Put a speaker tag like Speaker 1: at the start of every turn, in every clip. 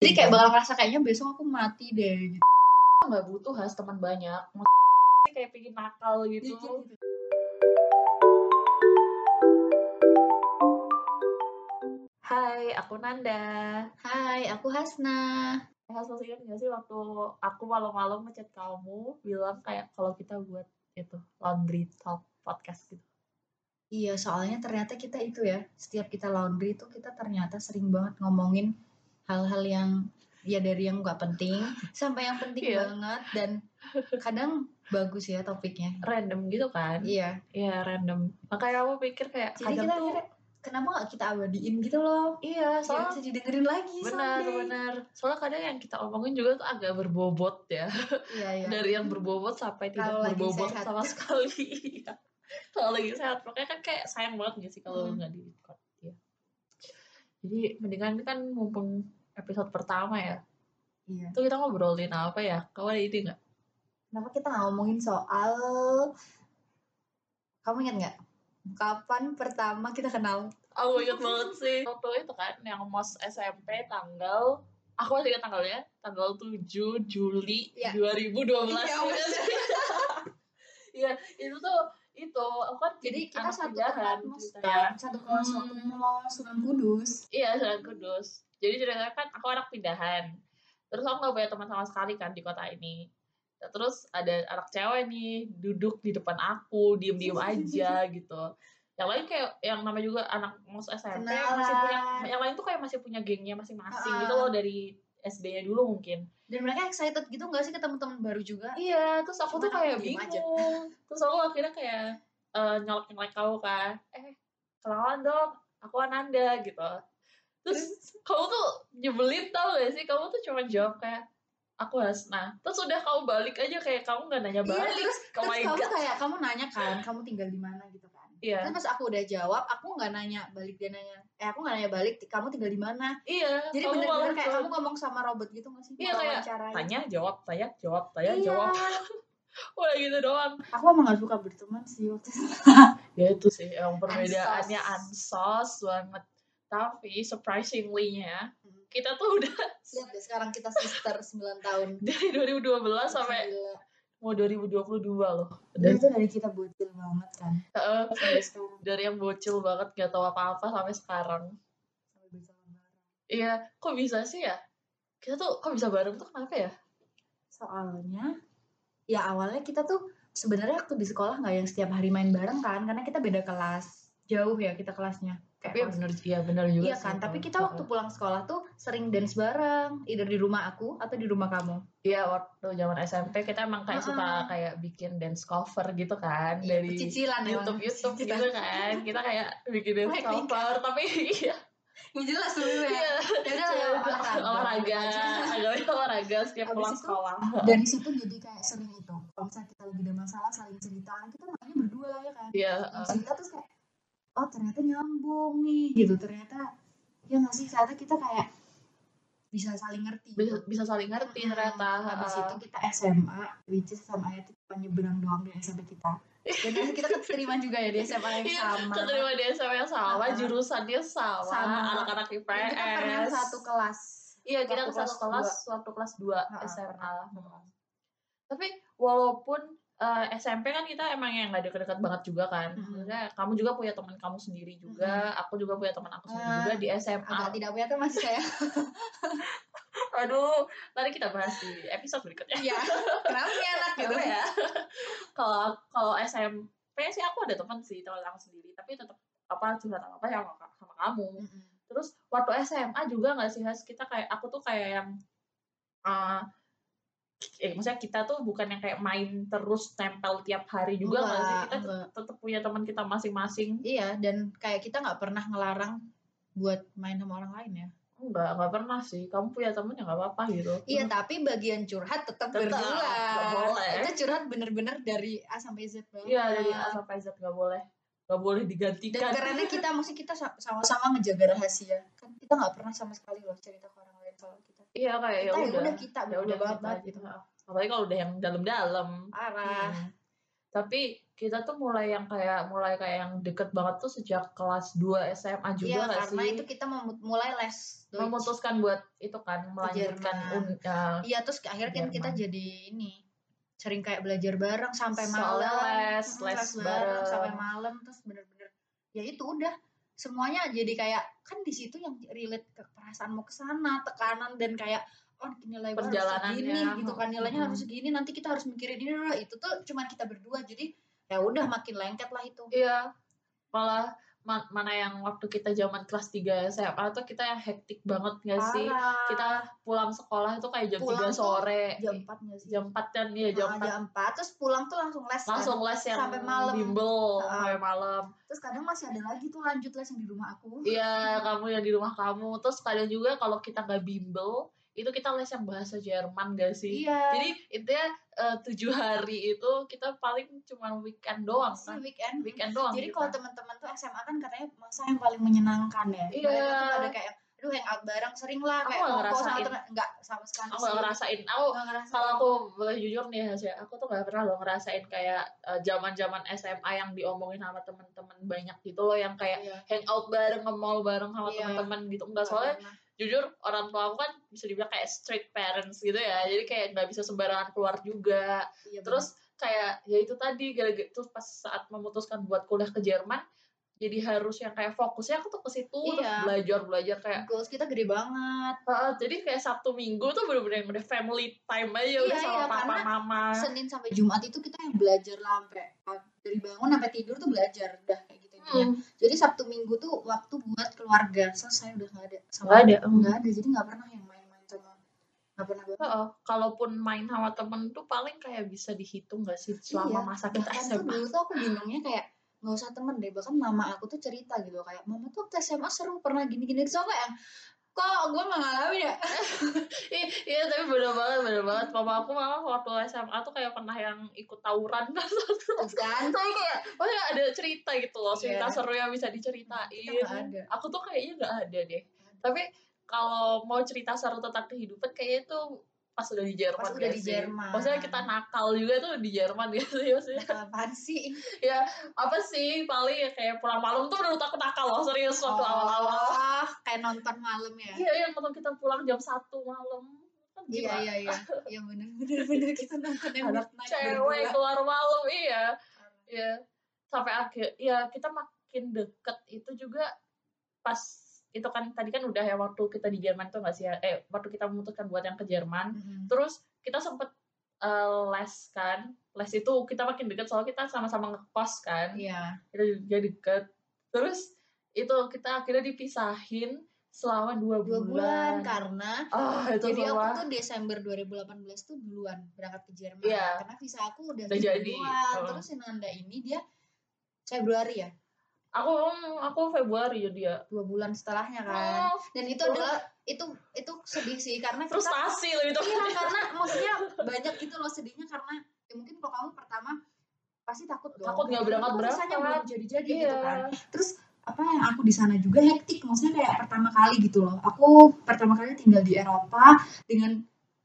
Speaker 1: Jadi kayak bakal ngerasa kayaknya besok aku mati deh gitu.
Speaker 2: nggak butuh has teman banyak Maksudnya kayak bikin nakal gitu Hai aku Nanda
Speaker 1: Hai, aku Hasna.
Speaker 2: Has masih ingat Eh, nggak sih waktu aku malam-malam ngechat kamu bilang kayak kalau kita buat itu laundry talk podcast gitu
Speaker 1: Iya, soalnya ternyata kita itu ya, setiap kita laundry itu kita ternyata sering banget ngomongin hal-hal yang ya dari yang nggak penting sampai yang penting
Speaker 2: Iya.
Speaker 1: banget dan kadang bagus ya topiknya.
Speaker 2: random gitu kan
Speaker 1: Iya.
Speaker 2: iya random makanya aku pikir kayak
Speaker 1: Jadi
Speaker 2: kadang
Speaker 1: kita
Speaker 2: tuh
Speaker 1: akhirnya, kenapa nggak kita abadiin gitu loh?
Speaker 2: iya
Speaker 1: Soalnya
Speaker 2: soalnya
Speaker 1: bisa didengerin lagi.
Speaker 2: benar
Speaker 1: someday.
Speaker 2: benar soalnya kadang yang kita omongin juga tuh agak berbobot ya
Speaker 1: Iya, iya.
Speaker 2: dari yang berbobot sampai tidak
Speaker 1: Kalau lagi
Speaker 2: berbobot
Speaker 1: sehat.
Speaker 2: sama sekali Iya. kalau lagi sehat makanya kan kayak sayang banget gak sih kalau
Speaker 1: Hmm.
Speaker 2: nggak di record ya jadi mendingan kan mumpung episode pertama ya
Speaker 1: Iya.
Speaker 2: itu kita ngobrolin apa ya kau ada ide nggak
Speaker 1: Kenapa kita nggak ngomongin soal kamu ingat nggak kapan pertama kita kenal?
Speaker 2: aku ingat banget sih waktu itu kan yang mos SMP tanggal aku masih ingat tanggalnya tanggal 7 Juli
Speaker 1: Iya.
Speaker 2: 2012
Speaker 1: Iya,
Speaker 2: Iya,
Speaker 1: bener.
Speaker 2: Iya, itu tuh itu aku kan
Speaker 1: Jadi kita
Speaker 2: anak
Speaker 1: satu
Speaker 2: pindahan gitu.
Speaker 1: tempat mos
Speaker 2: ceritanya.
Speaker 1: kan, satu kelas waktu
Speaker 2: Hmm.
Speaker 1: mau Sunan Kudus.
Speaker 2: Iya, Sunan Kudus. Jadi ceritanya kan aku anak pindahan. Terus aku gak punya teman sama sekali kan di kota ini. Terus ada anak cewek nih duduk di depan aku, diem-diem aja gitu. Yang lain kayak yang namanya juga anak mos SMP masih punya
Speaker 1: Kenalan.
Speaker 2: yang lain tuh kayak masih punya gengnya masing-masing
Speaker 1: Heeh.
Speaker 2: gitu loh dari SD-nya dulu mungkin.
Speaker 1: Dan mereka excited gitu nggak sih ketemu teman baru juga?
Speaker 2: Iya, terus aku
Speaker 1: Cuman
Speaker 2: tuh kayak
Speaker 1: aku diem
Speaker 2: bingung.
Speaker 1: aja.
Speaker 2: Terus aku akhirnya kayak eh nyolek-nyolek kau kan. Eh, kenalan dong. Aku Ananda gitu. Terus kamu tuh nyebelin tau gak sih? Kamu tuh cuma jawab kayak aku Hasna. Terus udah kamu balik aja kayak kamu gak nanya
Speaker 1: Iya,
Speaker 2: balik.
Speaker 1: terus
Speaker 2: Oh
Speaker 1: terus
Speaker 2: my
Speaker 1: kamu
Speaker 2: God.
Speaker 1: kayak kamu nanya kan, kamu tinggal di mana gitu kan?
Speaker 2: Iya,
Speaker 1: Terus pas aku udah jawab, aku nggak nanya balik dia nanya, eh aku nggak nanya balik, kamu tinggal di mana?
Speaker 2: iya.
Speaker 1: Jadi
Speaker 2: kamu
Speaker 1: bener-bener
Speaker 2: malah
Speaker 1: kayak
Speaker 2: jawab,
Speaker 1: kamu ngomong sama robot gitu nggak sih?
Speaker 2: Iya, kayak
Speaker 1: Wawancarai.
Speaker 2: tanya jawab, tanya jawab, tanya
Speaker 1: Iya.
Speaker 2: jawab. Udah gitu doang.
Speaker 1: Aku emang gak suka berteman sih waktu itu.
Speaker 2: Ya itu sih yang perbedaannya
Speaker 1: Ansos.
Speaker 2: ansos banget. Tapi surprisingly-nya
Speaker 1: Hmm.
Speaker 2: kita tuh udah
Speaker 1: Lihat deh sekarang kita sister 9 tahun.
Speaker 2: dari 2012 sampai
Speaker 1: Gila.
Speaker 2: mau 2022 loh.
Speaker 1: Dan
Speaker 2: Dan
Speaker 1: itu dari kita bocil banget kan.
Speaker 2: eh,
Speaker 1: Sampai sekarang
Speaker 2: dari yang bocil banget gak tahu apa-apa sampai sekarang.
Speaker 1: sampai bisa bareng.
Speaker 2: Iya, kok bisa sih ya? Kita tuh kok bisa bareng tuh kenapa ya?
Speaker 1: Soalnya ya awalnya kita tuh sebenarnya waktu di sekolah nggak yang setiap hari main bareng kan karena kita beda kelas. Jauh ya kita kelasnya. Kayak
Speaker 2: Tapi ya
Speaker 1: kelas-
Speaker 2: bener, iya bener juga
Speaker 1: Iya
Speaker 2: sih,
Speaker 1: kan, tapi
Speaker 2: kalau
Speaker 1: kita waktu pulang sekolah tuh sering dance bareng, either di rumah aku atau di rumah kamu.
Speaker 2: Iya, waktu zaman SMP kita emang kayak suka
Speaker 1: Heeh.
Speaker 2: kayak bikin dance cover gitu kan
Speaker 1: Ah. Iya,
Speaker 2: dari
Speaker 1: cicilan
Speaker 2: YouTube-YouTube gitu kan. Kita kayak bikin dance
Speaker 1: Teknik.
Speaker 2: cover, tapi iya.
Speaker 1: Gak jelas dulu ya.
Speaker 2: iya.
Speaker 1: Ya udah lah, olahraga.
Speaker 2: olahraga,
Speaker 1: Aja.
Speaker 2: agaknya olahraga setiap
Speaker 1: Habis
Speaker 2: pulang
Speaker 1: itu-
Speaker 2: sekolah.
Speaker 1: dari situ jadi kayak sering itu kalau misalnya kita lagi ada masalah saling cerita karena kita mainnya berdua ya kan
Speaker 2: Iya,
Speaker 1: Saling
Speaker 2: eh,
Speaker 1: cerita terus kayak oh ternyata nyambung nih gitu ternyata ya nggak sih ternyata kita kayak bisa saling ngerti
Speaker 2: bisa, bisa saling ngerti
Speaker 1: Hmm,
Speaker 2: ternyata.
Speaker 1: habis
Speaker 2: eh,
Speaker 1: itu kita SMA which is SMA itu cuma nyeberang doang dari SMP kita dan akhirnya kita keterima juga ya di SMA yang
Speaker 2: Iya,
Speaker 1: sama
Speaker 2: keterima di SMA yang sama,
Speaker 1: Sama.
Speaker 2: jurusannya sama,
Speaker 1: Ah. Sama.
Speaker 2: anak-anak
Speaker 1: Dan
Speaker 2: IPS.
Speaker 1: kita kan pernah satu kelas
Speaker 2: Iya, kita
Speaker 1: Waktu
Speaker 2: satu
Speaker 1: kelas Ah,
Speaker 2: kelas waktu kelas 2
Speaker 1: Ha-ha.
Speaker 2: SMA. Tapi walaupun eh, SMP kan kita emang yang gak deket-deket banget juga kan.
Speaker 1: Mm-mm.
Speaker 2: Maksudnya kamu juga punya teman kamu sendiri juga, aku juga punya teman aku sendiri
Speaker 1: Ah,
Speaker 2: juga di SMA.
Speaker 1: agak tidak punya teman sih saya
Speaker 2: Aduh, nanti kita bahas di episode berikutnya.
Speaker 1: iya kenapa sih anak
Speaker 2: Gitu ya. Kalau kalau SMP sih aku ada teman sih, teman aku sendiri, tapi tetap apa curhat apa yang sama kamu.
Speaker 1: Mm-mm.
Speaker 2: terus waktu SMA juga nggak sih Has kita kayak aku tuh kayak yang eh eh, maksudnya kita tuh bukan yang kayak main terus tempel tiap hari juga nggak sih
Speaker 1: Enggak,
Speaker 2: kita
Speaker 1: enggak.
Speaker 2: tetap punya teman kita masing-masing
Speaker 1: Iya, dan kayak kita nggak pernah ngelarang buat main sama orang lain ya.
Speaker 2: Iya. enggak nggak pernah sih kamu punya temen ya nggak apa-apa gitu
Speaker 1: Iya, tapi bagian curhat tetap
Speaker 2: Tetap,
Speaker 1: berdua.
Speaker 2: nggak boleh.
Speaker 1: Itu curhat bener-bener dari A sampai Z banget.
Speaker 2: iya dari A sampai Z nggak boleh nggak boleh
Speaker 1: Dan
Speaker 2: digantikan
Speaker 1: karena kita mesti kita sa- sama-sama ngejaga rahasia. Kan kita nggak pernah sama sekali loh cerita ke orang lain soal kita.
Speaker 2: iya kayak ya
Speaker 1: kita ya udah
Speaker 2: udah
Speaker 1: kita
Speaker 2: ya
Speaker 1: berdua
Speaker 2: udah
Speaker 1: banget
Speaker 2: kita
Speaker 1: banget
Speaker 2: gitu
Speaker 1: gitu. Ah.
Speaker 2: Iya, apalagi kalau udah yang dalam-dalam
Speaker 1: Parah.
Speaker 2: Hmm. tapi kita tuh mulai yang kayak mulai kayak yang deket banget tuh sejak kelas 2 SMA juga
Speaker 1: Iya,
Speaker 2: nggak
Speaker 1: karena
Speaker 2: sih?
Speaker 1: itu kita memu- mulai les Deutsch.
Speaker 2: memutuskan buat itu kan melanjutkan
Speaker 1: Jerman.
Speaker 2: un, ya,
Speaker 1: Iya, terus ke- akhirnya kan
Speaker 2: Jerman.
Speaker 1: kita jadi ini sering kayak belajar bareng sampai malam,
Speaker 2: Soalnya les,
Speaker 1: Mm,
Speaker 2: les bareng.
Speaker 1: sampai malam terus bener-bener ya itu udah semuanya jadi kayak kan di situ yang relate ke perasaanmu ke sana, tekanan dan kayak oh nilai gua harus
Speaker 2: Perjalanannya.
Speaker 1: segini gitu kan nilainya
Speaker 2: Mm.
Speaker 1: harus segini nanti kita harus mikirin ini dulu. itu tuh cuman kita berdua jadi ya udah makin lengket lah itu.
Speaker 2: Iya, malah ma- mana yang waktu kita zaman kelas 3 SMA tuh kita yang hektik banget gak Iya sih?
Speaker 1: Parah.
Speaker 2: Kita pulang sekolah tuh kayak jam
Speaker 1: Pulang
Speaker 2: 3
Speaker 1: tuh
Speaker 2: sore.
Speaker 1: jam 4 nggak sih?
Speaker 2: Jam 4 kan iya jam
Speaker 1: Ah,
Speaker 2: 4.
Speaker 1: jam 4 terus pulang tuh langsung les kan?
Speaker 2: Langsung les yang
Speaker 1: Sampai malam.
Speaker 2: bimbel
Speaker 1: Ah.
Speaker 2: sampai malam.
Speaker 1: terus kadang masih ada lagi tuh lanjut les yang di rumah aku
Speaker 2: Iya, kamu yang di rumah kamu. Terus kadang juga kalau kita nggak bimbel, itu kita les yang bahasa Jerman gak sih?
Speaker 1: iya
Speaker 2: Jadi intinya eh, tujuh hari itu kita paling cuma weekend doang
Speaker 1: sih
Speaker 2: kan?
Speaker 1: weekend
Speaker 2: Weekend doang.
Speaker 1: Hmm.
Speaker 2: gitu.
Speaker 1: jadi
Speaker 2: kita.
Speaker 1: kalau teman-teman tuh SMA kan katanya masa yang paling menyenangkan ya
Speaker 2: Iya.
Speaker 1: mereka tuh ada kayak aduh hangout bareng sering lah
Speaker 2: Aku
Speaker 1: kayak
Speaker 2: nggak
Speaker 1: nongkrong sama
Speaker 2: ngerasain.
Speaker 1: teman nggak sama sekali
Speaker 2: aku nggak ngerasain. Aku
Speaker 1: Nggak ngerasain.
Speaker 2: kalau aku boleh jujur nih Hasya, aku tuh gak pernah loh ngerasain kayak eh, zaman-zaman SMA yang diomongin sama temen-temen banyak gitu loh yang kayak
Speaker 1: Iya.
Speaker 2: hangout bareng, nge-mall bareng sama
Speaker 1: Iya.
Speaker 2: temen-temen gitu. Enggak soalnya
Speaker 1: Nggak pernah.
Speaker 2: jujur orang tua aku kan bisa dibilang kayak strict parents gitu ya. Jadi kayak nggak bisa sembarangan keluar juga.
Speaker 1: Iya,
Speaker 2: Terus kayak ya itu tadi gara-gara terus pas saat memutuskan buat kuliah ke Jerman jadi harus yang kayak fokusnya aku tuh ke situ terus
Speaker 1: Iya.
Speaker 2: belajar belajar kayak
Speaker 1: bener. goals kita gede banget
Speaker 2: Heeh, jadi kayak Sabtu Minggu tuh bener-bener yang udah family time aja
Speaker 1: Iya,
Speaker 2: udah sama
Speaker 1: iya,
Speaker 2: papa
Speaker 1: karena
Speaker 2: mama.
Speaker 1: Senin sampai Jumat itu kita yang belajar lah sampai dari bangun sampai tidur tuh belajar udah kayak gitu intinya.
Speaker 2: Hmm.
Speaker 1: jadi Sabtu Minggu tuh waktu buat keluarga selesai udah nggak ada sama
Speaker 2: Nggak ada, mm.
Speaker 1: nggak ada jadi nggak pernah yang main-main sama nggak pernah banget
Speaker 2: Heeh, kalaupun main sama temen tuh paling kayak bisa dihitung gak sih
Speaker 1: Iya,
Speaker 2: selama masa kita
Speaker 1: bahkan tuh
Speaker 2: SMA?
Speaker 1: dulu tuh aku bingungnya kayak nggak usah temen deh bahkan mama aku tuh cerita gitu kayak mama tuh waktu SMA seru pernah gini-gini terus aku yang kok gue nggak ngalamin ya
Speaker 2: Iya, iya, tapi bener banget, bener banget. Papa aku malah waktu SMA tuh kayak pernah yang ikut tawuran.
Speaker 1: terus kan
Speaker 2: Tapi kayak, oh ya ada cerita gitu loh, cerita
Speaker 1: Iya.
Speaker 2: seru yang bisa diceritain.
Speaker 1: Kita nggak ada.
Speaker 2: Aku tuh kayaknya nggak ada deh. Tapi kalau mau cerita seru tentang kehidupan kayaknya itu pas udah di Jerman
Speaker 1: udah
Speaker 2: nggak
Speaker 1: di
Speaker 2: sih?
Speaker 1: Jerman.
Speaker 2: Maksudnya kita nakal juga tuh di Jerman gitu sih maksudnya.
Speaker 1: apaan sih
Speaker 2: ya apa sih paling ya kayak pulang malam tuh menurut aku nakal loh serius waktu awal-awal
Speaker 1: Oh, kayak nonton malam ya
Speaker 2: iya yang waktu kita pulang jam satu malam kan
Speaker 1: iya
Speaker 2: gila.
Speaker 1: iya iya iya bener bener bener kita nonton yang
Speaker 2: anak
Speaker 1: midnight
Speaker 2: cewek
Speaker 1: berdua.
Speaker 2: keluar malam iya iya sampai akhir ya kita makin deket itu juga pas itu kan tadi kan udah ya waktu kita di Jerman tuh nggak sih ya? eh waktu kita memutuskan buat yang ke Jerman
Speaker 1: Mm-mm.
Speaker 2: terus kita sempet eh, les kan les itu kita makin deket soalnya kita sama-sama ngekos kan
Speaker 1: iya
Speaker 2: kita juga deket terus itu kita akhirnya dipisahin selama dua
Speaker 1: dua
Speaker 2: bulan,
Speaker 1: bulan karena
Speaker 2: ah itu
Speaker 1: jadi aku
Speaker 2: semua
Speaker 1: tuh Desember 2018 tuh duluan berangkat ke Jerman
Speaker 2: Iya.
Speaker 1: karena visa aku udah,
Speaker 2: Udah
Speaker 1: jadi
Speaker 2: jadi.
Speaker 1: duluan.
Speaker 2: Oh.
Speaker 1: terus si Nanda ini dia Februari ya
Speaker 2: aku aku Februari jadi ya
Speaker 1: dua bulan setelahnya kan
Speaker 2: Oh,
Speaker 1: dan itu
Speaker 2: Udah.
Speaker 1: adalah itu itu sedih sih karena kita-
Speaker 2: frustasi loh itu
Speaker 1: iya karena maksudnya banyak gitu loh sedihnya karena ya mungkin kalau kamu pertama pasti takut dong
Speaker 2: Takut nggak
Speaker 1: Kayak,
Speaker 2: berangkat-
Speaker 1: "Kok visanya
Speaker 2: berangkat?"
Speaker 1: belum jadi jadi
Speaker 2: Iya.
Speaker 1: gitu kan terus apa yang aku di sana juga hektik maksudnya kayak pertama kali gitu loh aku pertama kali tinggal di Eropa dengan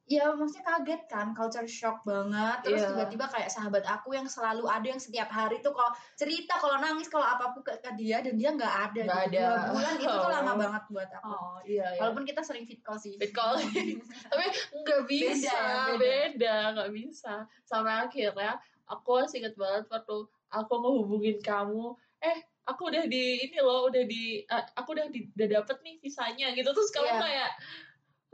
Speaker 1: ya maksudnya kaget kan culture shock banget terus
Speaker 2: Iya.
Speaker 1: tiba-tiba kayak sahabat aku yang selalu ada yang setiap hari tuh kalau cerita kalau nangis kalau apapun ke, ke dia dan dia nggak ada
Speaker 2: Nggak
Speaker 1: gitu.
Speaker 2: ada.
Speaker 1: dua bulan itu tuh lama
Speaker 2: Oh.
Speaker 1: banget buat aku
Speaker 2: oh iya iya
Speaker 1: walaupun kita sering fit call sih
Speaker 2: Fit call. tapi nggak bisa
Speaker 1: ya, beda.
Speaker 2: beda nggak bisa sampai akhirnya aku masih ingat banget waktu aku ngehubungin kamu eh aku udah di ini loh udah di eh, aku udah di, udah dapet nih visanya gitu terus kamu
Speaker 1: Iya.
Speaker 2: kayak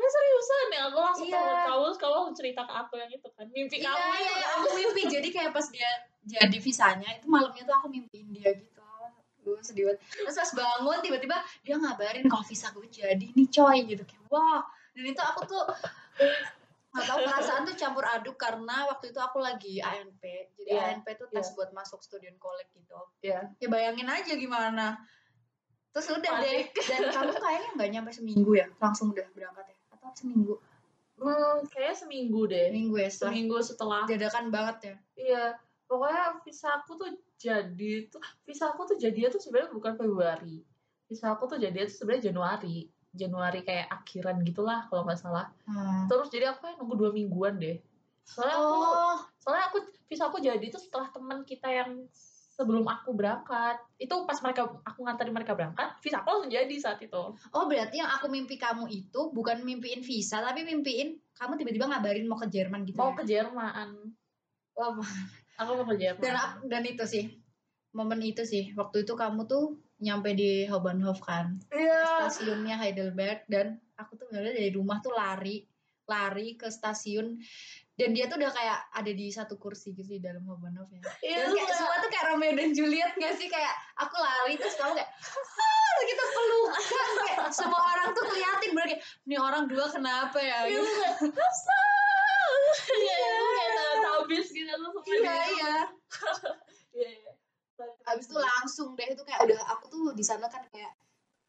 Speaker 2: "Eh, seriusan ya aku langsung
Speaker 1: Iya.
Speaker 2: telepon kamu terus kamu langsung cerita ke aku yang itu kan mimpi
Speaker 1: Iya,
Speaker 2: kamu
Speaker 1: iya,
Speaker 2: itu
Speaker 1: iya,
Speaker 2: kan.
Speaker 1: aku mimpi. Jadi kayak pas dia jadi visanya itu malamnya tuh aku mimpiin dia gitu. Gue sedih banget. Terus pas bangun tiba-tiba dia ngabarin kalau visa gue jadi nih coy gitu kayak wah. Dan itu aku tuh nggak tahu perasaan tuh campur aduk karena waktu itu aku lagi ANP. Jadi
Speaker 2: Iya,
Speaker 1: ANP tuh tes buat masuk student college gitu.
Speaker 2: Iya.
Speaker 1: Ya bayangin aja gimana. Terus udah deh.
Speaker 2: Panik.
Speaker 1: Dan kamu kayaknya nggak nyampe seminggu ya, langsung udah berangkat ya? Atau seminggu?
Speaker 2: hmm, kayaknya seminggu deh
Speaker 1: Seminggu ya setelah
Speaker 2: seminggu setelah
Speaker 1: dadakan banget ya.
Speaker 2: iya pokoknya visa aku tuh jadi tuh visa aku tuh jadinya tuh sebenarnya bukan Februari visa aku tuh jadinya tuh sebenarnya Januari Januari kayak akhiran gitulah kalau nggak salah
Speaker 1: Hmm.
Speaker 2: terus jadi aku kayak nunggu dua mingguan deh soalnya aku
Speaker 1: oh
Speaker 2: soalnya aku visa aku jadi itu setelah teman kita yang sebelum aku berangkat itu pas mereka aku nganterin mereka berangkat visa aku langsung jadi saat itu
Speaker 1: oh berarti yang aku mimpi kamu itu bukan mimpiin visa tapi mimpiin kamu tiba-tiba ngabarin mau ke Jerman gitu ya?
Speaker 2: mau ke Jerman
Speaker 1: Wah,
Speaker 2: aku mau ke Jerman
Speaker 1: dan ak- dan itu sih momen itu sih waktu itu kamu tuh nyampe di Hauptbahnhof kan
Speaker 2: iya
Speaker 1: stasiunnya Heidelberg dan aku tuh bener dari rumah tuh lari lari ke stasiun dan dia tuh udah kayak ada di satu kursi gitu di dalam Habanov ya
Speaker 2: iya
Speaker 1: dan kayak
Speaker 2: terus
Speaker 1: semua tuh kayak Romeo dan Juliet gak sih kayak aku lari terus kamu kayak ah gitu pelukan kayak semua orang tuh ngeliatin bener kayak ini orang dua kenapa ya
Speaker 2: kayak- iya
Speaker 1: gitu.
Speaker 2: terus kayak, "Hassan!" iya iya, terus kayak habis gitu terus semua
Speaker 1: iya
Speaker 2: di-
Speaker 1: iya
Speaker 2: iya iya.
Speaker 1: abis itu langsung deh itu kayak udah aku tuh di sana kan kayak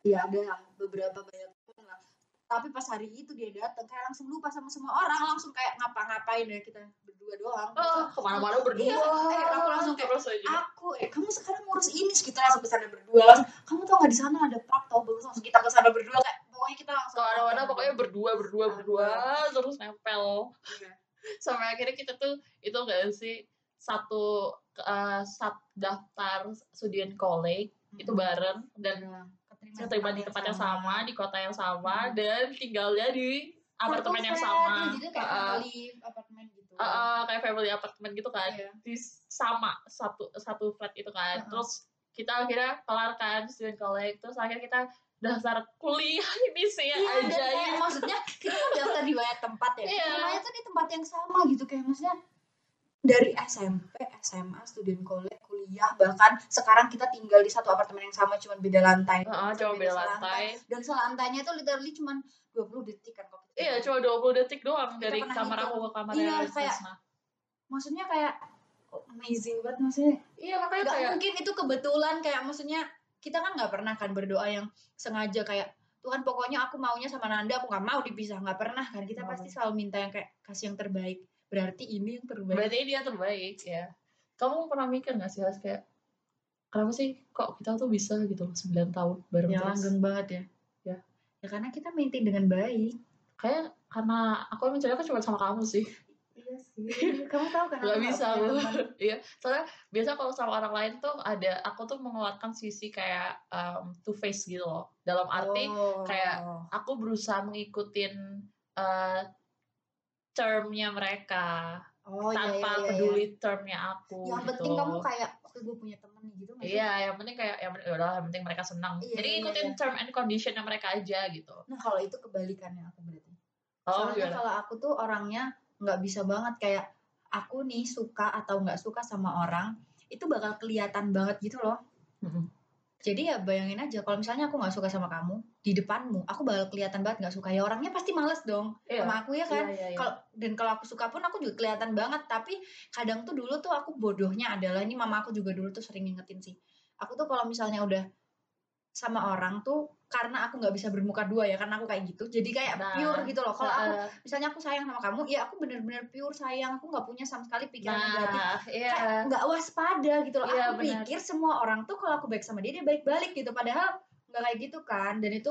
Speaker 1: ya ada lah beberapa banyak temen lah tapi pas hari itu dia datang kayak langsung lupa sama semua orang langsung kayak ngapa-ngapain ya kita berdua doang
Speaker 2: oh, kemana-mana berdua
Speaker 1: Iya, eh, aku langsung kayak,
Speaker 2: terus aja
Speaker 1: aku eh kamu sekarang ngurus ini terus kita langsung ke sana berdua langsung kamu tau nggak di sana ada park tau bagus langsung kita ke sana berdua kayak pokoknya kita langsung
Speaker 2: kemana-mana pokoknya berdua berdua berdua
Speaker 1: Berdua.
Speaker 2: terus nempel
Speaker 1: Iya.
Speaker 2: sampai akhirnya kita tuh itu enggak sih satu eh, sat daftar student college itu
Speaker 1: Hmm.
Speaker 2: bareng dan
Speaker 1: Udah Iya, keterima
Speaker 2: keterima di tempat yang sama di kota yang sama dan tinggalnya di apartemen yang
Speaker 1: Satu flat,
Speaker 2: sama
Speaker 1: Hmm. kan, jadi kayak
Speaker 2: Heeh.
Speaker 1: family apartemen gitu
Speaker 2: Eh, eh, kayak family apartemen gitu kan
Speaker 1: Iya.
Speaker 2: di sama satu satu flat itu kan
Speaker 1: Heeh.
Speaker 2: terus kita akhirnya kelar kan student college terus akhirnya kita daftar kuliah ini sih
Speaker 1: Iya, dan
Speaker 2: aja
Speaker 1: kayak maksudnya kita kan daftar di banyak tempat ya.
Speaker 2: Iya.
Speaker 1: Namanya tuh di tempat yang sama gitu kayak maksudnya dari SMP, SMA, student college, kuliah bahkan sekarang kita tinggal di satu apartemen yang sama cuman beda lantai.
Speaker 2: coba beda lantai Iya,
Speaker 1: Dan selantainya tuh literally cuman 20 detik kan kalau kita
Speaker 2: Iya,
Speaker 1: jalan.
Speaker 2: cuma 20 detik doang
Speaker 1: Kita
Speaker 2: dari
Speaker 1: pernah
Speaker 2: kamar
Speaker 1: hitung.
Speaker 2: aku ke kamar
Speaker 1: Iya,
Speaker 2: Rizky
Speaker 1: kayak-
Speaker 2: Sna.
Speaker 1: Maksudnya kayak oh, amazing banget maksudnya.
Speaker 2: Iya, makanya
Speaker 1: Gak
Speaker 2: kayak
Speaker 1: mungkin itu kebetulan kayak maksudnya kita kan nggak pernah kan berdoa yang sengaja kayak Tuhan pokoknya aku maunya sama Nanda aku nggak mau dipisah nggak pernah kan kita
Speaker 2: Nggak
Speaker 1: pasti selalu minta yang kayak kasih yang terbaik berarti ini yang terbaik
Speaker 2: berarti dia terbaik ya. Kamu pernah mikir gak sih Has, kayak kenapa sih kok kita tuh bisa gitu 9 tahun bareng
Speaker 1: ya
Speaker 2: terus?
Speaker 1: langgeng banget ya
Speaker 2: Ya.
Speaker 1: ya karena kita maintain dengan baik
Speaker 2: Kayak karena aku yang mencari aku cuma sama kamu sih.
Speaker 1: iya sih kamu tahu kan
Speaker 2: Gak
Speaker 1: aku
Speaker 2: bisa
Speaker 1: punya
Speaker 2: aku.
Speaker 1: teman.
Speaker 2: Iya, soalnya biasa kalau sama orang lain tuh ada aku tuh mengeluarkan sisi kayak um, two face gitu loh. Dalam arti
Speaker 1: Oh.
Speaker 2: kayak- aku berusaha mengikutin uh, termnya mereka.
Speaker 1: oh, iya,
Speaker 2: tanpa
Speaker 1: iya, iya,
Speaker 2: peduli termnya
Speaker 1: iya.
Speaker 2: aku
Speaker 1: yang
Speaker 2: gitu.
Speaker 1: penting kamu kayak oke gue punya teman nih gitu nggak sih?
Speaker 2: iya yang penting kayak yang penting udah yang penting mereka senang
Speaker 1: Iya,
Speaker 2: jadi
Speaker 1: iya,
Speaker 2: ikutin
Speaker 1: iya.
Speaker 2: term and condition yang mereka aja gitu
Speaker 1: nah kalau itu kebalikannya aku berarti
Speaker 2: oh
Speaker 1: Soalnya
Speaker 2: gimana?
Speaker 1: kalau aku tuh orangnya nggak bisa banget kayak aku nih suka atau nggak suka sama orang itu bakal kelihatan banget gitu loh.
Speaker 2: Mm-mm.
Speaker 1: Jadi ya bayangin aja kalau misalnya aku nggak suka sama kamu di depanmu, aku bakal kelihatan banget nggak suka ya orangnya pasti males dong
Speaker 2: iya
Speaker 1: sama aku ya kan.
Speaker 2: iya, iya, iya.
Speaker 1: Kalau dan kalau aku suka pun aku juga kelihatan banget tapi kadang tuh dulu tuh aku bodohnya adalah ini mama aku juga dulu tuh sering ngingetin sih. Aku tuh kalau misalnya udah sama orang tuh karena aku nggak bisa bermuka dua ya karena aku kayak gitu jadi kayak
Speaker 2: Nah,
Speaker 1: pure gitu loh kalau aku
Speaker 2: Heeh.
Speaker 1: misalnya aku sayang sama kamu ya aku bener-bener pure sayang aku nggak punya sama sekali pikiran negatif
Speaker 2: nah iya
Speaker 1: Kayak nggak waspada gitu loh
Speaker 2: Iya,
Speaker 1: aku
Speaker 2: benar.
Speaker 1: pikir semua orang tuh kalau aku baik sama dia dia baik balik gitu padahal nggak kayak gitu kan dan itu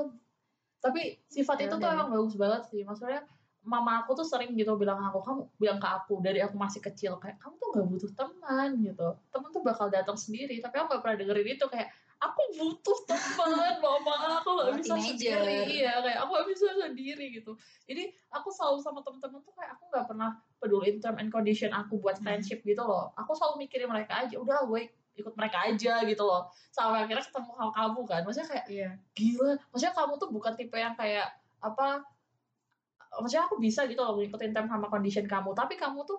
Speaker 2: tapi sifat itu tuh
Speaker 1: Yaudah.
Speaker 2: emang bagus banget sih maksudnya mama aku tuh sering gitu bilang aku kamu bilang ke aku dari aku masih kecil kayak kamu tuh gak butuh teman gitu teman tuh bakal datang sendiri tapi aku gak pernah dengerin itu kayak aku butuh teman mama aku gak
Speaker 1: Oh,
Speaker 2: bisa
Speaker 1: teenager.
Speaker 2: sendiri ya kayak aku gak bisa sendiri gitu jadi aku selalu sama teman-teman tuh kayak aku gak pernah peduliin term and condition aku buat
Speaker 1: Hmm.
Speaker 2: friendship gitu loh aku selalu mikirin mereka aja udah gue ikut mereka aja gitu loh sampai akhirnya ketemu sama kamu kan maksudnya kayak
Speaker 1: iya
Speaker 2: gila maksudnya kamu tuh bukan tipe yang kayak apa maksudnya aku bisa gitu loh ngikutin term sama condition kamu tapi kamu tuh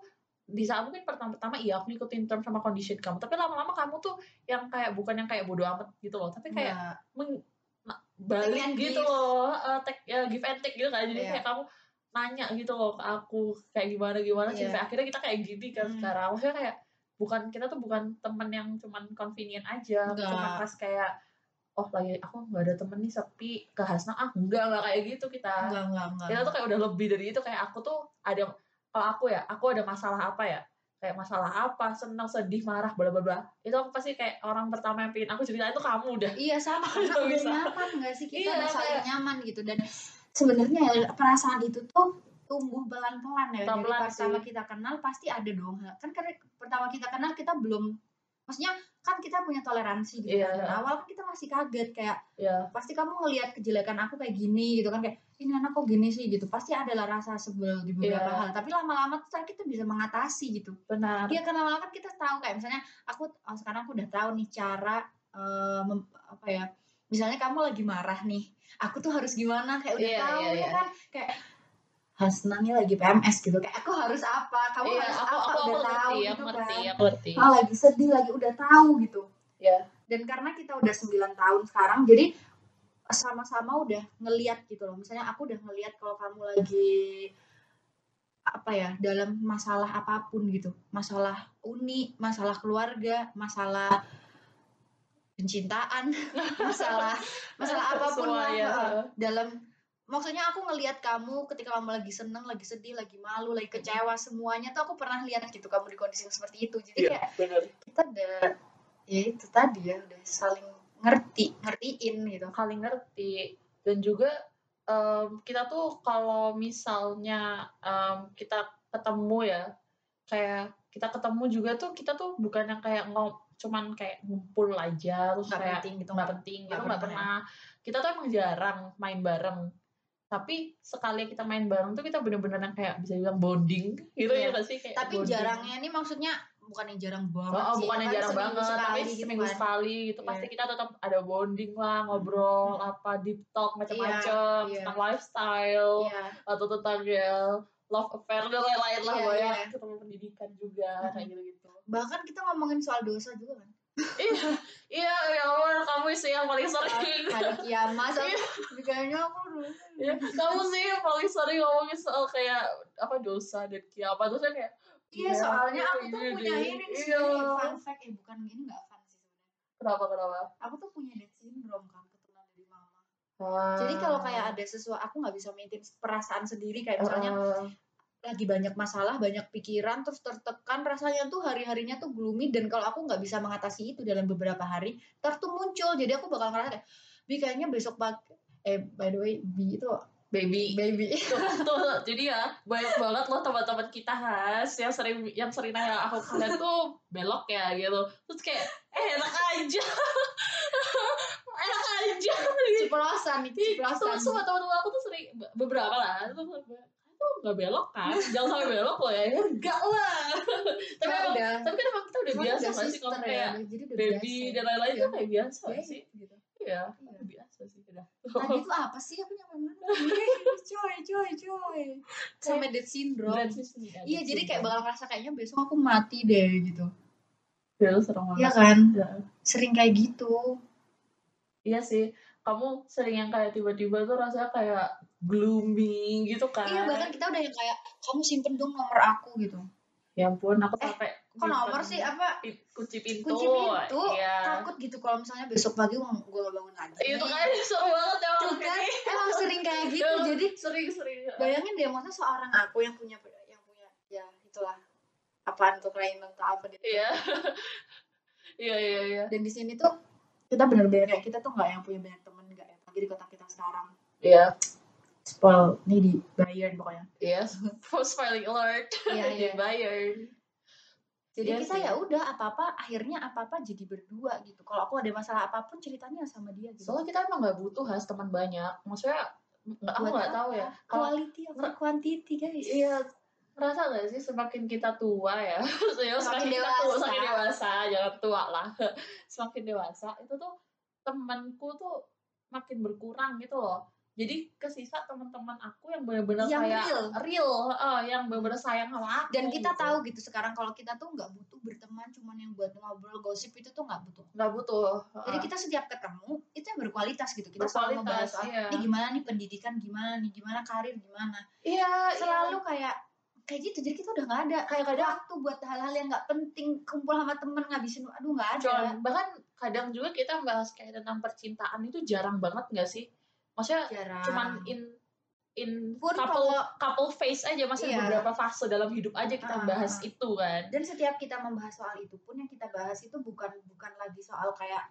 Speaker 2: di saat mungkin pertama-tama iya aku ngikutin term sama condition kamu tapi lama-lama kamu tuh yang kayak bukan yang kayak bodo amat gitu loh tapi kayak
Speaker 1: kayak
Speaker 2: meng- na-
Speaker 1: Take and
Speaker 2: balik gitu
Speaker 1: give.
Speaker 2: loh eh, take- ya, give and take gitu kan jadi
Speaker 1: Iya.
Speaker 2: kayak kamu nanya gitu loh ke aku kayak gimana gimana
Speaker 1: Iya.
Speaker 2: sih Sampai akhirnya kita kayak gini kan
Speaker 1: Hmm.
Speaker 2: sekarang maksudnya kayak bukan kita tuh bukan temen yang cuman convenient aja
Speaker 1: Enggak.
Speaker 2: cuman pas kayak oh lagi aku nggak ada temen nih sepi ke Hasna ah enggak enggak kayak gitu kita
Speaker 1: nggak nggak nggak
Speaker 2: kita tuh kayak udah lebih dari itu kayak aku tuh ada kalau aku ya aku ada masalah apa ya kayak masalah apa senang sedih marah bla bla bla itu aku pasti kayak orang pertama yang pingin aku cerita itu kamu udah
Speaker 1: iya sama karena
Speaker 2: Nggak
Speaker 1: udah
Speaker 2: bisa.
Speaker 1: nyaman nggak sih kita
Speaker 2: Iya,
Speaker 1: udah saling
Speaker 2: kayak-
Speaker 1: nyaman gitu dan sebenarnya ya, perasaan itu tuh tumbuh pelan-pelan ya. Dari
Speaker 2: Pelan-pelan
Speaker 1: pertama
Speaker 2: sih.
Speaker 1: kita kenal pasti ada dong. Kan karena pertama kita kenal kita belum maksudnya kan kita punya toleransi gitu.
Speaker 2: Iya.
Speaker 1: kan. Dari awal kan kita masih kaget kayak
Speaker 2: ya
Speaker 1: pasti kamu ngelihat kejelekan aku kayak gini gitu kan kayak ini anak kok gini sih gitu. Pasti adalah rasa sebel di beberapa
Speaker 2: Iya.
Speaker 1: hal, tapi lama-lama tuh kan kita bisa mengatasi gitu.
Speaker 2: benar
Speaker 1: Iya karena lama-lama kan kita tahu kayak misalnya aku oh, sekarang aku udah tahu nih cara eh, mem- apa ya misalnya kamu lagi marah nih aku tuh harus gimana kayak udah
Speaker 2: Iya,
Speaker 1: tahu
Speaker 2: iya,
Speaker 1: ya
Speaker 2: iya.
Speaker 1: kan kayak Hasna nih lagi PMS gitu kayak aku harus apa kamu
Speaker 2: Iya,
Speaker 1: harus
Speaker 2: aku
Speaker 1: apa
Speaker 2: aku aku
Speaker 1: udah tahu
Speaker 2: ngerti
Speaker 1: gitu
Speaker 2: aku ngerti
Speaker 1: kan
Speaker 2: aku ngerti
Speaker 1: Ah, lagi sedih lagi udah tahu gitu
Speaker 2: Iya.
Speaker 1: dan karena kita udah 9 tahun sekarang jadi sama-sama udah ngeliat gitu loh misalnya aku udah ngeliat kalau kamu lagi apa ya dalam masalah apapun gitu masalah uni masalah keluarga masalah pencintaan masalah masalah apapun
Speaker 2: Semua,
Speaker 1: lah
Speaker 2: ya.
Speaker 1: heeh. dalam maksudnya aku ngelihat kamu ketika kamu lagi seneng lagi sedih lagi malu lagi kecewa semuanya tuh aku pernah lihat gitu kamu di kondisi yang seperti itu jadi kayak
Speaker 2: benar
Speaker 1: kita udah ya itu tadi ya udah saling ngerti ngertiin gitu
Speaker 2: kali ngerti dan juga em, kita tuh kalau misalnya em, kita ketemu ya kayak kita ketemu juga tuh kita tuh bukan yang kayak ngom cuman kayak ngumpul aja terus
Speaker 1: nggak
Speaker 2: kayak
Speaker 1: penting gitu
Speaker 2: nggak penting gitu
Speaker 1: nggak
Speaker 2: nggak
Speaker 1: pernah.
Speaker 2: pernah kita tuh emang jarang main bareng tapi sekali kita main bareng tuh kita bener-bener yang kayak bisa bilang bonding gitu
Speaker 1: Iya.
Speaker 2: ya nggak sih kayak
Speaker 1: tapi
Speaker 2: bonding.
Speaker 1: jarangnya ini maksudnya bukan yang jarang banget
Speaker 2: Oh, oh,
Speaker 1: sih
Speaker 2: bukan yang
Speaker 1: kan
Speaker 2: jarang
Speaker 1: seminggu
Speaker 2: banget,
Speaker 1: sekali
Speaker 2: tapi
Speaker 1: gitu
Speaker 2: seminggu
Speaker 1: kan.
Speaker 2: sekali gitu
Speaker 1: Iya. Hmm.
Speaker 2: pasti kita tetap ada bonding lah, ngobrol apa deep talk macam-macam
Speaker 1: iya.
Speaker 2: tentang lifestyle
Speaker 1: Iya.
Speaker 2: atau tentang ya love affair dan lain-lain lah
Speaker 1: Iya,
Speaker 2: banyak
Speaker 1: iya.
Speaker 2: ketemu pendidikan juga
Speaker 1: Mhm.
Speaker 2: kayak gitu-gitu.
Speaker 1: bahkan kita ngomongin soal dosa juga kan
Speaker 2: Iya, iya, ya Allah, kamu sih yang paling sering.
Speaker 1: hari kiamat
Speaker 2: Iya.
Speaker 1: aku kayaknya aku dulu
Speaker 2: Ya, kamu sih yang paling sering ngomongin soal kayak apa dosa dan kiamat terus kan kayak
Speaker 1: iya
Speaker 2: Iya,
Speaker 1: soalnya aku
Speaker 2: iya,
Speaker 1: tuh
Speaker 2: iya,
Speaker 1: punya
Speaker 2: iya.
Speaker 1: ini di
Speaker 2: Iya.
Speaker 1: sini fun fact eh bukan ini nggak fun sih sebenarnya
Speaker 2: kenapa kenapa?
Speaker 1: aku tuh punya Down syndrome kan keturunan dari mama jadi kalau kayak ada sesuatu aku nggak bisa maintain perasaan sendiri kayak misalnya
Speaker 2: Ah,
Speaker 1: lagi banyak masalah, banyak pikiran, terus tertekan, rasanya tuh hari-harinya tuh gloomy dan kalau aku nggak bisa mengatasi itu dalam beberapa hari, ntar tuh muncul. Jadi aku bakal ngerasa kayak, Bi kayaknya besok pagi eh by the way Bi itu
Speaker 2: baby
Speaker 1: baby
Speaker 2: tuh, tuh, jadi ya banyak banget loh teman-teman kita khas yang sering yang sering nanya aku kalian tuh belok ya gitu terus kayak eh, enak aja enak aja gitu
Speaker 1: ciplosan nih
Speaker 2: terus
Speaker 1: ciplosan
Speaker 2: sama teman-teman aku tuh sering be- beberapa lah tuh tuh nggak belok kan jangan sampai belok loh ya enggak lah tapi
Speaker 1: Kayak
Speaker 2: emang,
Speaker 1: udah
Speaker 2: tapi kan emang kita udah
Speaker 1: emang
Speaker 2: biasa
Speaker 1: udah
Speaker 2: nggak sih
Speaker 1: sister
Speaker 2: kalau
Speaker 1: ya,
Speaker 2: kayak
Speaker 1: udah- jadi udah
Speaker 2: baby
Speaker 1: biasa.
Speaker 2: dan lain-lain
Speaker 1: Iya.
Speaker 2: tuh kayak biasa nggak
Speaker 1: Iya,
Speaker 2: sih
Speaker 1: gitu. Iya.
Speaker 2: iya udah biasa sih udah
Speaker 1: Tadi tuh apa sih aku nyampe mana? Ih, coy, coy, coy. Sampai Down syndrome.
Speaker 2: Transisi aja
Speaker 1: Iya, jadi
Speaker 2: sih,
Speaker 1: kayak
Speaker 2: Bang.
Speaker 1: bakal ngerasa kayaknya besok aku mati deh gitu.
Speaker 2: Ya, lu serem banget
Speaker 1: Iya kan?
Speaker 2: Iya.
Speaker 1: Sering kayak gitu.
Speaker 2: Iya sih, kamu sering yang kayak tiba-tiba tuh rasanya kayak gloomy gitu kan.
Speaker 1: Iya bahkan kita udah yang kayak kamu simpen dong nomor aku gitu.
Speaker 2: Ya ampun, aku sampai
Speaker 1: Eh, Kok nomor sih apa
Speaker 2: Pi- kunci pintu.
Speaker 1: kunci pintu?
Speaker 2: Iya.
Speaker 1: Takut gitu kalau misalnya besok pagi gue gue gak bangun lagi.
Speaker 2: Itu kan seru banget ya
Speaker 1: Tuh kan, emang sering kayak gitu. Jadi
Speaker 2: sering-sering.
Speaker 1: bayangin deh maksudnya seorang aku yang punya yang punya ya itulah apaan tuh kelainan atau apa gitu.
Speaker 2: Iya. Iya, iya, iya.
Speaker 1: Dan di sini tuh kita bener-bener kayak kita tuh nggak yang punya banyak temen nggak ya lagi di kota kita sekarang.
Speaker 2: Iya,
Speaker 1: Spol nih di Bayern pokoknya.
Speaker 2: iya. Post filing alert.
Speaker 1: Iya
Speaker 2: Di Bayern.
Speaker 1: Jadi
Speaker 2: Iya
Speaker 1: kita
Speaker 2: sih.
Speaker 1: ya udah apa-apa akhirnya apa-apa jadi berdua gitu. Kalau aku ada masalah apapun ceritanya sama dia gitu.
Speaker 2: Soalnya kita emang nggak butuh has teman banyak. Maksudnya, nggak- aku
Speaker 1: Buat
Speaker 2: nggak tahu ya. Kalau
Speaker 1: quality over quantity guys
Speaker 2: Iya, merasa gak sih semakin kita tua ya? Maksudnya semakin, kita tua,
Speaker 1: dewasa.
Speaker 2: semakin dewasa, jangan tua lah. semakin dewasa itu tuh temanku tuh makin berkurang gitu loh. Jadi kesisa teman-teman aku yang benar-benar
Speaker 1: Yang
Speaker 2: kayak
Speaker 1: real.
Speaker 2: eh, yang benar-benar sayang sama aku.
Speaker 1: dan kita
Speaker 2: gitu.
Speaker 1: tahu gitu sekarang kalau kita tuh nggak butuh berteman cuman yang buat ngobrol gosip itu tuh nggak butuh
Speaker 2: nggak butuh.
Speaker 1: jadi kita setiap ketemu itu yang berkualitas gitu kita selalu
Speaker 2: Ah. Berkualitas,
Speaker 1: ngebahas soal
Speaker 2: iya.
Speaker 1: ini gimana nih pendidikan gimana nih gimana karir gimana
Speaker 2: iya,
Speaker 1: selalu kayak kayak gitu jadi kita udah nggak ada
Speaker 2: kayak kadang
Speaker 1: waktu buat hal-hal yang nggak penting kumpul sama temen ngabisin aduh nggak ada
Speaker 2: Cuman, iya. bahkan kadang juga kita bahas kayak tentang percintaan itu jarang banget nggak sih? Maksudnya
Speaker 1: jarang
Speaker 2: cuman in in
Speaker 1: Nah. Pun
Speaker 2: couple
Speaker 1: kalau-
Speaker 2: couple phase aja maksudnya
Speaker 1: Iya.
Speaker 2: beberapa fase dalam hidup aja kita
Speaker 1: Ah.
Speaker 2: bahas itu kan
Speaker 1: dan setiap kita membahas soal itu pun yang kita bahas itu bukan bukan lagi soal kayak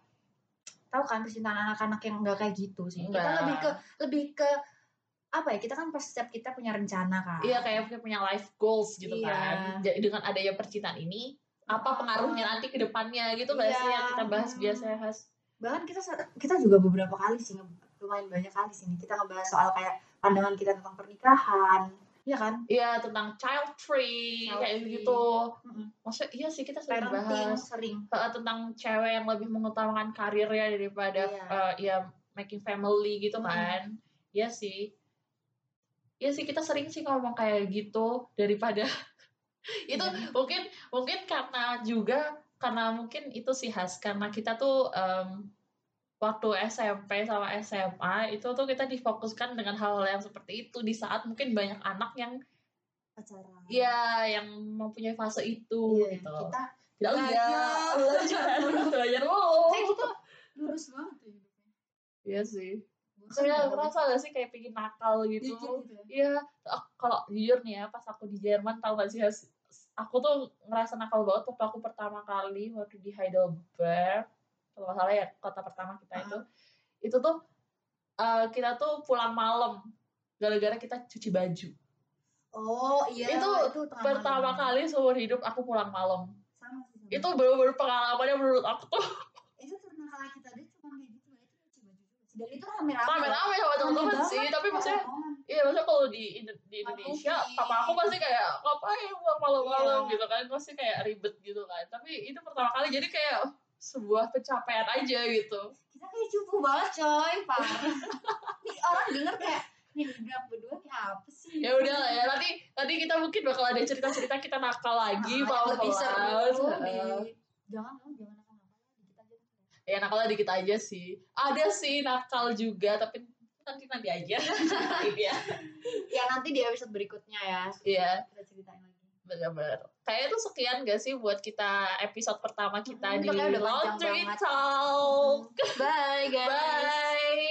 Speaker 1: tahu kan percintaan anak-anak yang enggak kayak gitu sih kita
Speaker 2: Enggak.
Speaker 1: lebih ke lebih ke apa ya kita kan pas setiap kita punya rencana kan
Speaker 2: Iya kayak punya- punya life goals gitu
Speaker 1: Iya. Ah.
Speaker 2: kan. Jadi dengan adanya percintaan ini apa pengaruhnya nanti ke depannya gitu nggak sih
Speaker 1: Iya.
Speaker 2: yang kita bahas
Speaker 1: Hmm.
Speaker 2: biasanya Has?
Speaker 1: bahkan kita sa- kita juga beberapa kali sih nge- lumayan banyak kali sih nih, kita ngebahas soal kayak pandangan kita tentang pernikahan Iya kan
Speaker 2: Iya tentang child free
Speaker 1: Child
Speaker 2: kayak
Speaker 1: free.
Speaker 2: gitu.
Speaker 1: Mm-mm.
Speaker 2: Maksudnya iya sih kita sering
Speaker 1: parenting
Speaker 2: bahas
Speaker 1: sering
Speaker 2: eh, tentang cewek yang lebih mengutamakan karirnya daripada
Speaker 1: Iya.
Speaker 2: eh, ya making family gitu
Speaker 1: Mm.
Speaker 2: kan. Iya sih. Iya sih kita sering sih ngomong kayak gitu daripada itu
Speaker 1: Iya.
Speaker 2: mungkin mungkin karena juga karena mungkin itu sih khas karena kita tuh em, waktu SMP sama SMA itu tuh kita difokuskan dengan hal-hal yang seperti itu di saat mungkin banyak anak yang
Speaker 1: pacaran
Speaker 2: ya yang mempunyai fase itu
Speaker 1: Iya,
Speaker 2: gitu.
Speaker 1: kita
Speaker 2: Tidak
Speaker 1: Belajar.
Speaker 2: lihat, belajar, belajar
Speaker 1: kayak
Speaker 2: mulu.
Speaker 1: kita lurus banget ya hidupnya
Speaker 2: Iya sih.
Speaker 1: Bosan
Speaker 2: Saya
Speaker 1: banget.
Speaker 2: merasa gak sih kayak pingin nakal gitu.
Speaker 1: Dikit gitu ya.
Speaker 2: Iya, ak- kalau jujur nih ya, pas aku di Jerman tau gak sih, Has? aku tuh ngerasa nakal banget waktu aku pertama kali waktu di Heidelberg, kalau nggak salah ya kota pertama kita
Speaker 1: Ah.
Speaker 2: itu, itu tuh eh, kita tuh pulang malam gara-gara kita cuci baju.
Speaker 1: oh iya
Speaker 2: Itu
Speaker 1: tengah
Speaker 2: Pertama
Speaker 1: malam.
Speaker 2: kali seumur hidup aku pulang malam.
Speaker 1: sama sih sama.
Speaker 2: Itu baru-baru pengalamannya menurut aku tuh
Speaker 1: itu karena kalau kita dia cuma kayak gitu ya itu lucu banget juga sih. dan itu rame-rame
Speaker 2: rame-rame sama teman-teman
Speaker 1: Rame
Speaker 2: sih,
Speaker 1: banget.
Speaker 2: tapi maksudnya
Speaker 1: Orang-orang.
Speaker 2: Iya, maksudnya kalau di, Indo- di
Speaker 1: Papa
Speaker 2: Indonesia,
Speaker 1: Upi.
Speaker 2: papa aku pasti kayak ngapain pulang malam-malam
Speaker 1: Iya.
Speaker 2: gitu kan, pasti kayak ribet gitu kan. Tapi itu pertama kali jadi kayak sebuah pencapaian aja gitu.
Speaker 1: kita kayak cupu banget coy parah nih orang denger kayak nih udah berdua nih apa sih
Speaker 2: Ya udah lah ya, nanti nanti kita mungkin bakal ada cerita-cerita kita nakal
Speaker 1: Ah,
Speaker 2: lagi,
Speaker 1: Yang
Speaker 2: mau
Speaker 1: lebih seru di
Speaker 2: Heeh.
Speaker 1: jangan dong jangan nakal nakal kita aja
Speaker 2: Ya nakalnya dikit aja sih. Ada sih nakal juga, tapi nanti nanti aja. Iya,
Speaker 1: ya nanti di episode berikutnya ya
Speaker 2: iya.
Speaker 1: kita ceritain lagi
Speaker 2: Bener-bener. Kayaknya tuh sekian gak sih buat kita episode pertama kita
Speaker 1: Mm,
Speaker 2: di
Speaker 1: pokoknya udah panjang
Speaker 2: Laundry
Speaker 1: banget.
Speaker 2: Talk.
Speaker 1: bye guys
Speaker 2: Bye.